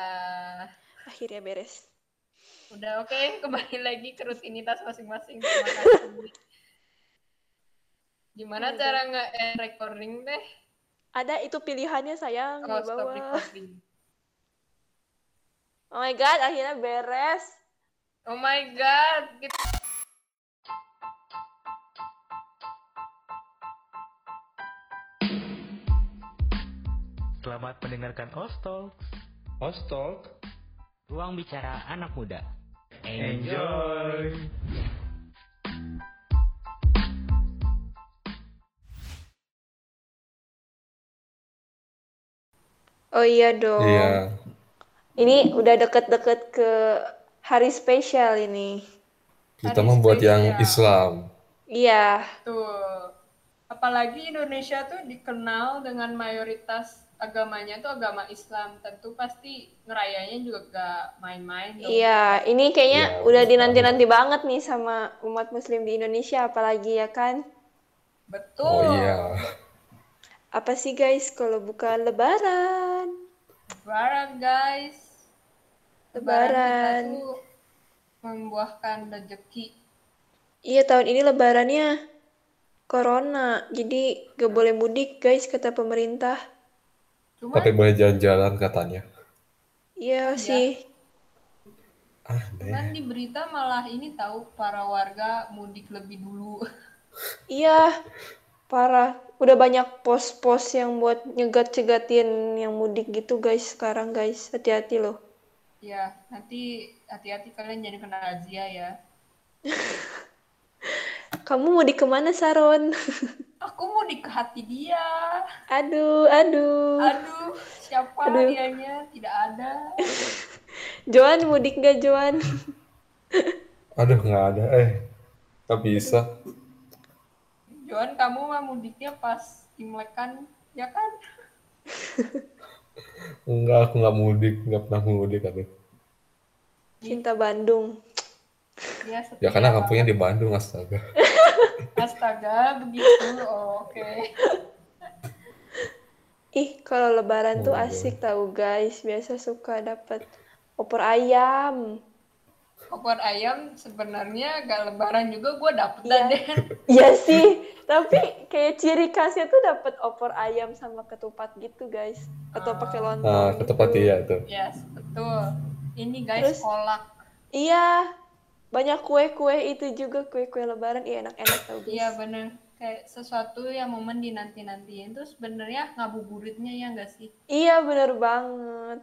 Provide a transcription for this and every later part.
Udah. Akhirnya beres. Udah oke, kembali lagi ke rutinitas masing-masing. Terima kasih. Gimana Udah. cara nge end recording deh? Ada itu pilihannya sayang Oh, di stop bawah. recording. Oh my god, akhirnya beres. Oh my god, kita Selamat mendengarkan Ostol, Hostalk. Ruang bicara anak muda. Enjoy. Oh iya dong. Iya. Ini udah deket-deket ke hari spesial ini. Kita Hari membuat yang spesial. Islam. Iya, tuh. gitu. Apalagi Indonesia tuh dikenal dengan mayoritas agamanya tuh agama Islam. Tentu pasti ngerayanya juga gak main-main dong. iya. Ini kayaknya Iya, udah bener dinanti-nanti banget nih sama umat muslim di Indonesia apalagi ya kan. Betul. Oh iya. Apa sih guys kalau bukan lebaran? Lebaran guys. Lebaran. kita tuh membuahkan rezeki. Iya, tahun ini lebarannya corona. Jadi gak boleh mudik guys kata pemerintah. Cuman Tapi boleh jalan-jalan katanya. Iya Iya. sih. kan Eh. Aneh. di berita malah ini tahu para warga mudik lebih dulu. Iya, parah. Udah banyak pos-pos yang buat nyegat-cegatin yang mudik gitu guys sekarang guys. Hati-hati loh. ya, nanti hati-hati kalian jadi kena razia ya. Kamu mudik kemana, Saron? Aku mudik ke hati dia. Aduh, aduh. Aduh, siapa Oh. Aduh. dianya? Tidak ada. Joan mudik gak, Joan? Aduh nggak ada. Eh, nggak bisa. Joan, kamu mah mudiknya pas Imlek kan? Ya kan? Enggak, aku nggak mudik, nggak pernah mudik aduh. Cinta Bandung. Ya, Ya karena kampungnya di Bandung, astaga. Astaga, begitu. Oh, Oke. Ih, kalau lebaran tuh Oh, iya. asik tahu guys. Biasa suka dapet opor ayam. Opor ayam sebenarnya gak lebaran juga gue dapet Iya. deh. Iya sih, tapi kayak ciri khasnya tuh dapet opor ayam sama ketupat gitu guys. Atau pakai lontong Nah, ke tempat gitu. iya tuh. Yes, betul. Ini guys Terus? kolak. Iya, banyak kue-kue itu juga kue-kue lebaran. Iya enak-enak tau guys. Iya bener. Kayak sesuatu yang momen dinanti-nantiin. Terus sebenarnya ngabuburitnya ya nggak sih? Iya bener banget.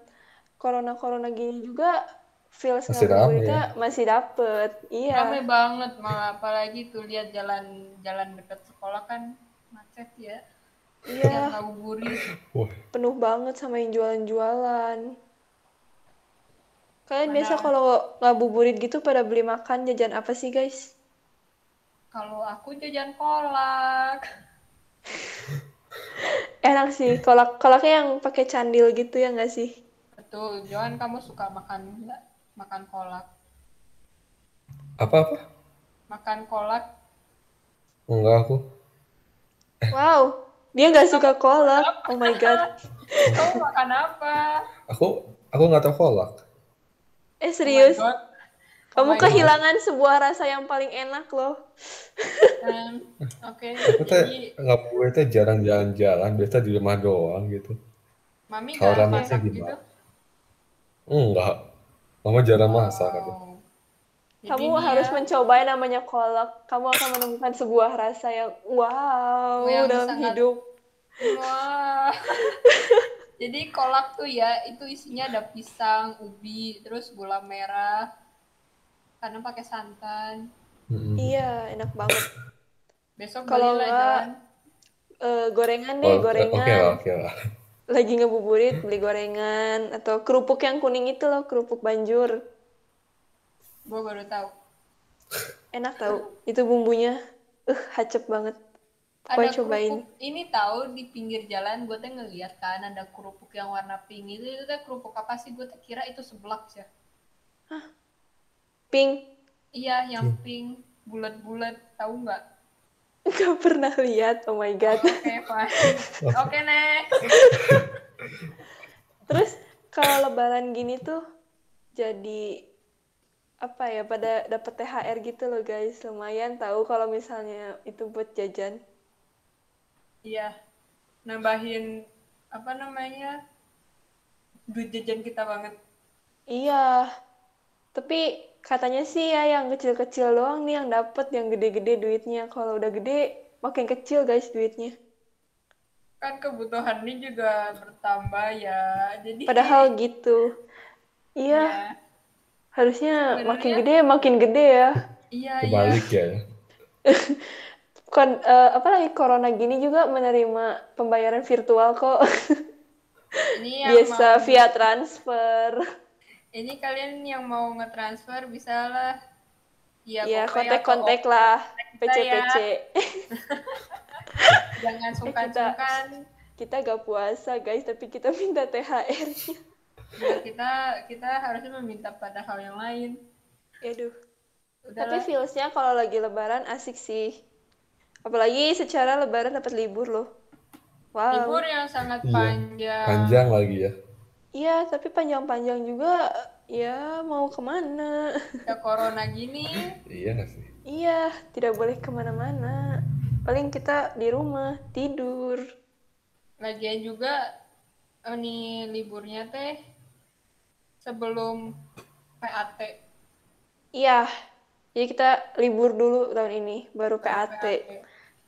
Corona-corona gini juga feels Masih ngabuburitnya masih dapet. Iya. Rame banget malah apalagi tuh lihat jalan jalan dekat sekolah kan macet ya. Iya, Yang ngabuburit. penuh banget sama yang jualan-jualan. Kalian Mana- biasa kalau ngabuburit gitu pada beli makan jajan apa sih guys? Kalau aku jajan kolak. Enak sih, kolak kolaknya yang pakai candil gitu ya nggak sih? Betul, Johan kamu suka makan nggak? Makan kolak. Apa-apa? Makan kolak. Enggak aku. Wow, dia nggak suka kolak. Oh my god. Kamu makan apa? Aku aku nggak tahu kolak. Oh Eh my serius, God. kamu my God. kehilangan sebuah rasa yang paling enak loh. Um, Oke, jadi Aku teh nggak boleh teh jarang jalan-jalan, biasa di rumah doang gitu. mami Kalau nggak ramen masak sih gitu. gimana? Enggak. Mama jarang masak aduh. Wow. Oh. Jadi Kamu dia- harus mencoba yang namanya kolak. Kamu akan menemukan sebuah rasa yang wow Oh, Yang dalam sangat- hidup. Hmm. Wah. Jadi kolak tuh ya, itu isinya ada pisang, ubi, terus gula merah, karena pakai santan. Mm-mm. Iya, enak banget. Besok Kalau belilah nggak- jalan. Eh, gorengan Oh, deh, Oke gorengan. lah, oke lah. Lagi ngebuburit, beli gorengan. Atau kerupuk yang kuning itu loh, kerupuk banjur. Gue baru tahu. Enak tau, itu bumbunya. Eh, hacep banget. Pokoknya ada cobain. kerupuk ini tahu di pinggir jalan gue teh ngeliat kan ada kerupuk yang warna pink itu itu teh kerupuk apa sih gue teh kira itu seblak ya Pink, iya yang pink bulat-bulat tahu nggak nggak pernah lihat. Oh my God. oke fine oke next Terus kalau lebaran gini tuh jadi apa ya pada dapat THR gitu loh guys lumayan tahu kalau misalnya itu buat jajan Iya, nambahin apa namanya duit jajan kita banget. iya tapi katanya sih ya yang kecil-kecil doang nih yang dapat yang gede-gede duitnya kalau udah gede makin kecil guys duitnya Kan kebutuhannya juga bertambah ya. Jadi padahal gitu ya, iya harusnya Sebenarnya- makin gede makin gede ya iya, iya. Kebalik ya. Kon, eh, apa lagi corona gini juga menerima pembayaran virtual kok Ini yang biasa mau- via transfer Ini kalian yang mau ngetransfer bisa lah. Iya, ya pokoknya kontak-kontak lah kita ya. PC-PC atau Jangan Eh, sungkan-sungkan. kita gak puasa guys tapi kita minta THR Ya, kita kita harusnya meminta pada hal yang lain. Yaduh. Ya, tapi Udahlah. feelsnya kalau lagi lebaran asik sih apalagi secara lebaran dapat libur loh wow libur yang sangat Iya, panjang. Panjang lagi ya. iya tapi panjang-panjang juga ya mau kemana Ada corona gini, Iya nggak sih? iya tidak boleh kemana-mana paling kita di rumah tidur lagian juga eh, nih liburnya teh sebelum PAT. iya jadi kita libur dulu tahun ini baru PAT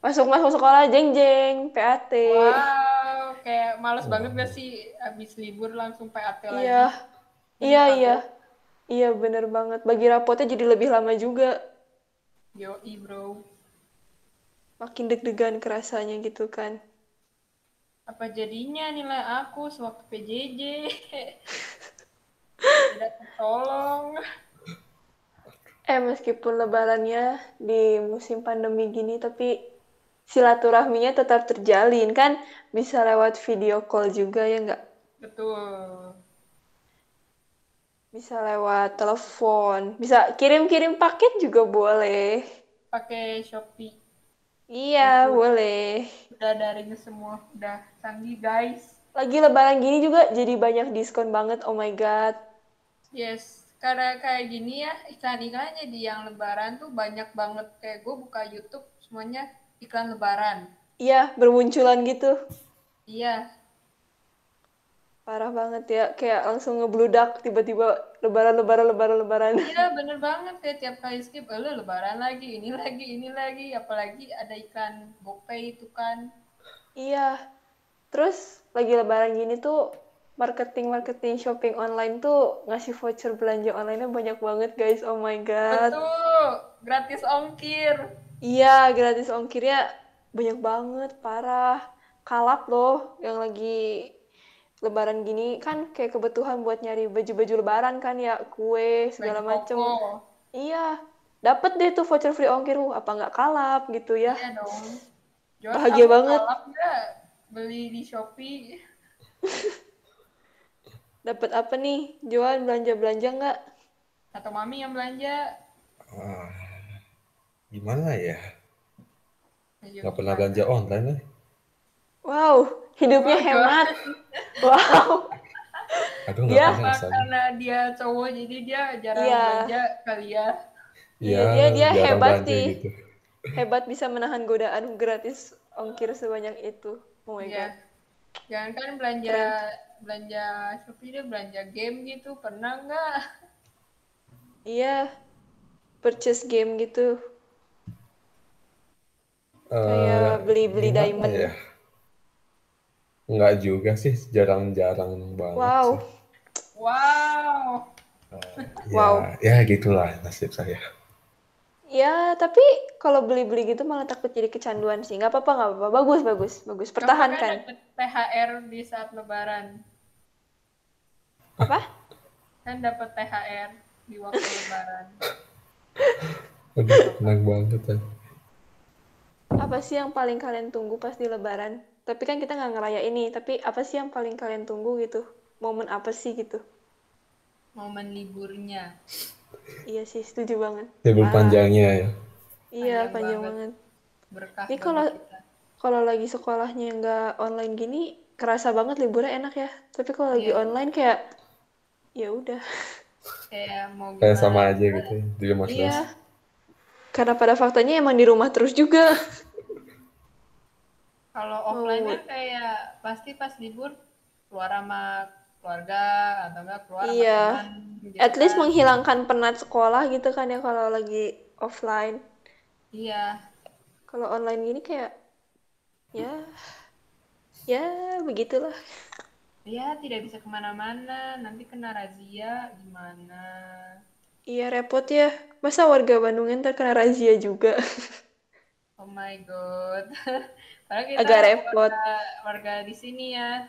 masuk masuk sekolah jeng jeng PAT Wow, kayak males banget gak sih abis libur langsung PAT lagi? Iya, Jadi iya, takut. iya, iya, bener banget. Bagi rapotnya jadi lebih lama juga, Yoi bro, makin deg-degan kerasanya gitu kan. apa jadinya nilai aku sewaktu PJJ? Tidak tertolong. Eh, meskipun lebarannya di musim pandemi gini, tapi silaturahminya tetap terjalin kan, bisa lewat video call juga ya nggak? Betul. Bisa lewat telepon, bisa kirim-kirim paket juga boleh. Pakai Shopee. Iya, Betul. boleh. Udah daring semua, udah canggih guys. Lagi lebaran gini juga jadi banyak diskon banget, oh my god. Yes, karena kayak gini ya iklan-iklannya di yang lebaran tuh banyak banget kayak gue buka YouTube semuanya iklan lebaran. Iya, bermunculan gitu. Iya, Parah banget ya, kayak langsung ngebludak tiba-tiba lebaran, lebaran, lebaran, lebaran. iya bener banget ya tiap kali skip "Eh, lu lebaran lagi, ini lagi, ini lagi, apalagi ada iklan GoPay itu kan. Iya, terus lagi lebaran gini tuh marketing-marketing shopping online tuh ngasih voucher belanja online-nya banyak banget guys, oh my god. Betul, gratis ongkir. Iya, gratis ongkirnya banyak banget, parah. Kalap loh yang lagi lebaran gini kan kayak kebutuhan buat nyari baju-baju lebaran kan ya, kue, segala Baju macem. koko. Iya, dapet deh tuh voucher free ongkir, uh, apa nggak kalap gitu ya. Iya dong. Jual Bahagia apa, banget. kalap nggak? Beli di Shopee. Dapat apa nih? Jualan belanja-belanja nggak? Atau mami yang belanja. Ah, gimana ya? Ayo, Nggak pernah belanja online nih. Wow, hidupnya Wah, hemat. Wow. Aduh nggak Iya. pernah Apa rasanya. karena dia cowok jadi dia jarang Iya. belanja kali ya. Iya, dia- dia jarang hebat belanja sih. gitu. Hebat bisa menahan godaan gratis ongkir sebanyak itu. Oh my Iya. God. Jangan kan belanja belanja Shopee dia belanja game gitu pernah nggak? Iya. Purchase game gitu. Kayak Eh, beli-beli gimana diamond. ya? Nggak juga sih, jarang-jarang banget Wow. sih. Wow. Ya, Wow. ya gitulah nasib saya. Ya, tapi kalau beli-beli gitu malah takut jadi kecanduan sih. Nggak apa-apa, nggak apa-apa. Bagus, bagus, bagus. Kamu Pertahankan. kan dapet THR di saat lebaran. Apa? Kan dapat THR di waktu lebaran. Aduh, tenang banget ya. Apa sih yang paling kalian tunggu pas di Lebaran? Tapi kan kita nggak ngerayain ini. Tapi apa sih yang paling kalian tunggu gitu? Momen apa sih gitu? Momen liburnya. Iya sih, setuju banget. Libur Parah. panjangnya ya. Iya, Panjang panjang banget. banget. Berkah Ini bagi kalau- kita. Kalau lagi sekolahnya nggak online gini, kerasa banget liburnya enak ya. Tapi kalau lagi Iya. online kayak ya udah kayak mau Kayak gimana. sama aja gitu ya, di rumah terus. iya karena pada faktanya emang di rumah terus juga Kalau Oh. offline kan kayak pasti pas libur keluar sama keluarga atau enggak keluar sama Iya. teman, gitu at least kan. menghilangkan penat sekolah gitu kan ya kalau lagi offline Iya. kalau online gini kayak ya ya begitulah Iya, tidak bisa kemana-mana. Nanti kena razia gimana? iya repot ya masa warga Bandung ntar kena razia juga Oh my god. Padahal kita Agak repot. Warga, warga di sini ya.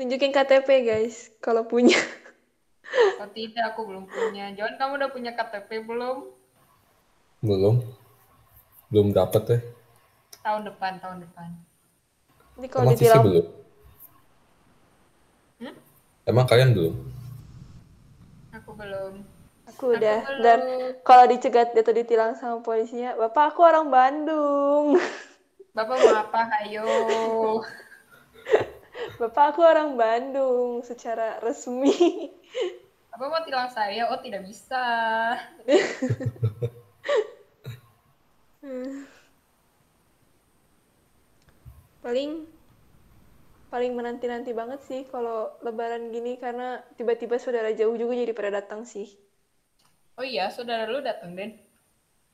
tunjukin KTP guys kalau punya Kalau Oh, tidak aku belum punya. John, kamu udah punya KTP belum? Belum. Belum dapet ya. Tahun depan, tahun depan. ini kalau Emang Cici dibilang belum? Hmm? Emang kalian belum? Aku belum. aku udah Aku dan belum. kalau dicegat atau ditilang sama polisinya bapak aku orang Bandung Bapak mau apa? Ayo. bapak aku orang Bandung secara resmi Bapak mau tilang saya? Oh, tidak bisa. Hmm. paling paling menanti-nanti banget sih kalau lebaran gini karena tiba-tiba saudara jauh juga jadi pada datang sih. Oh iya, saudara lu datang, Den.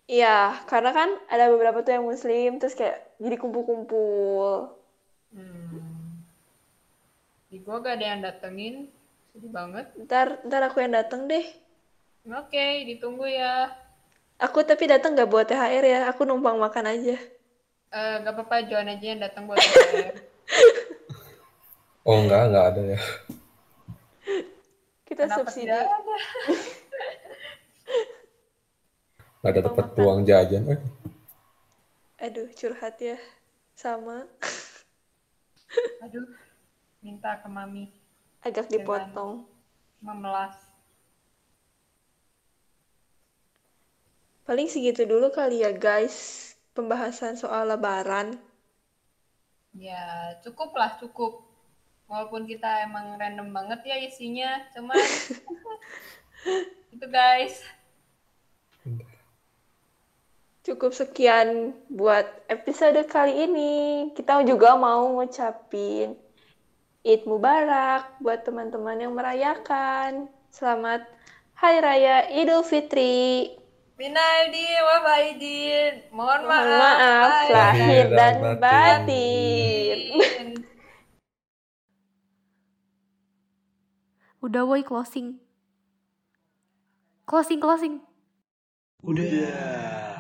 Iya, karena kan ada beberapa tuh yang muslim terus kayak jadi kumpul-kumpul. Hmm. Di gua gak ada yang datengin. Sedih banget. Ntar ntar aku yang datang deh. Oke, ditunggu ya. Aku tapi datang nggak buat THR ya, aku numpang makan aja. Eh, gak apa-apa, Joan aja yang datang buat THR. Eh. Oh enggak, enggak ada ya. Kita Kenapa subsidi. tidak ada? Enggak ada dapat uang jajan. Eh, Aduh, curhat ya. Sama Aduh, minta ke mami agak dipotong. memelas. Paling segitu dulu kali ya, guys. Pembahasan soal lebaran. Ya, cukup lah, cukup. Walaupun kita emang random banget ya isinya, cuman itu guys. Cukup sekian buat episode kali ini. Kita juga mau ngucapin Eid Mubarak buat teman-teman yang merayakan. Selamat Hari Raya Idul Fitri. Mina Aidin, Wab Aidin. Mohon Mohon maaf. maaf Aidin. lahir dan Lahir dan batin. Udah woi closing. Closing, closing. Udah.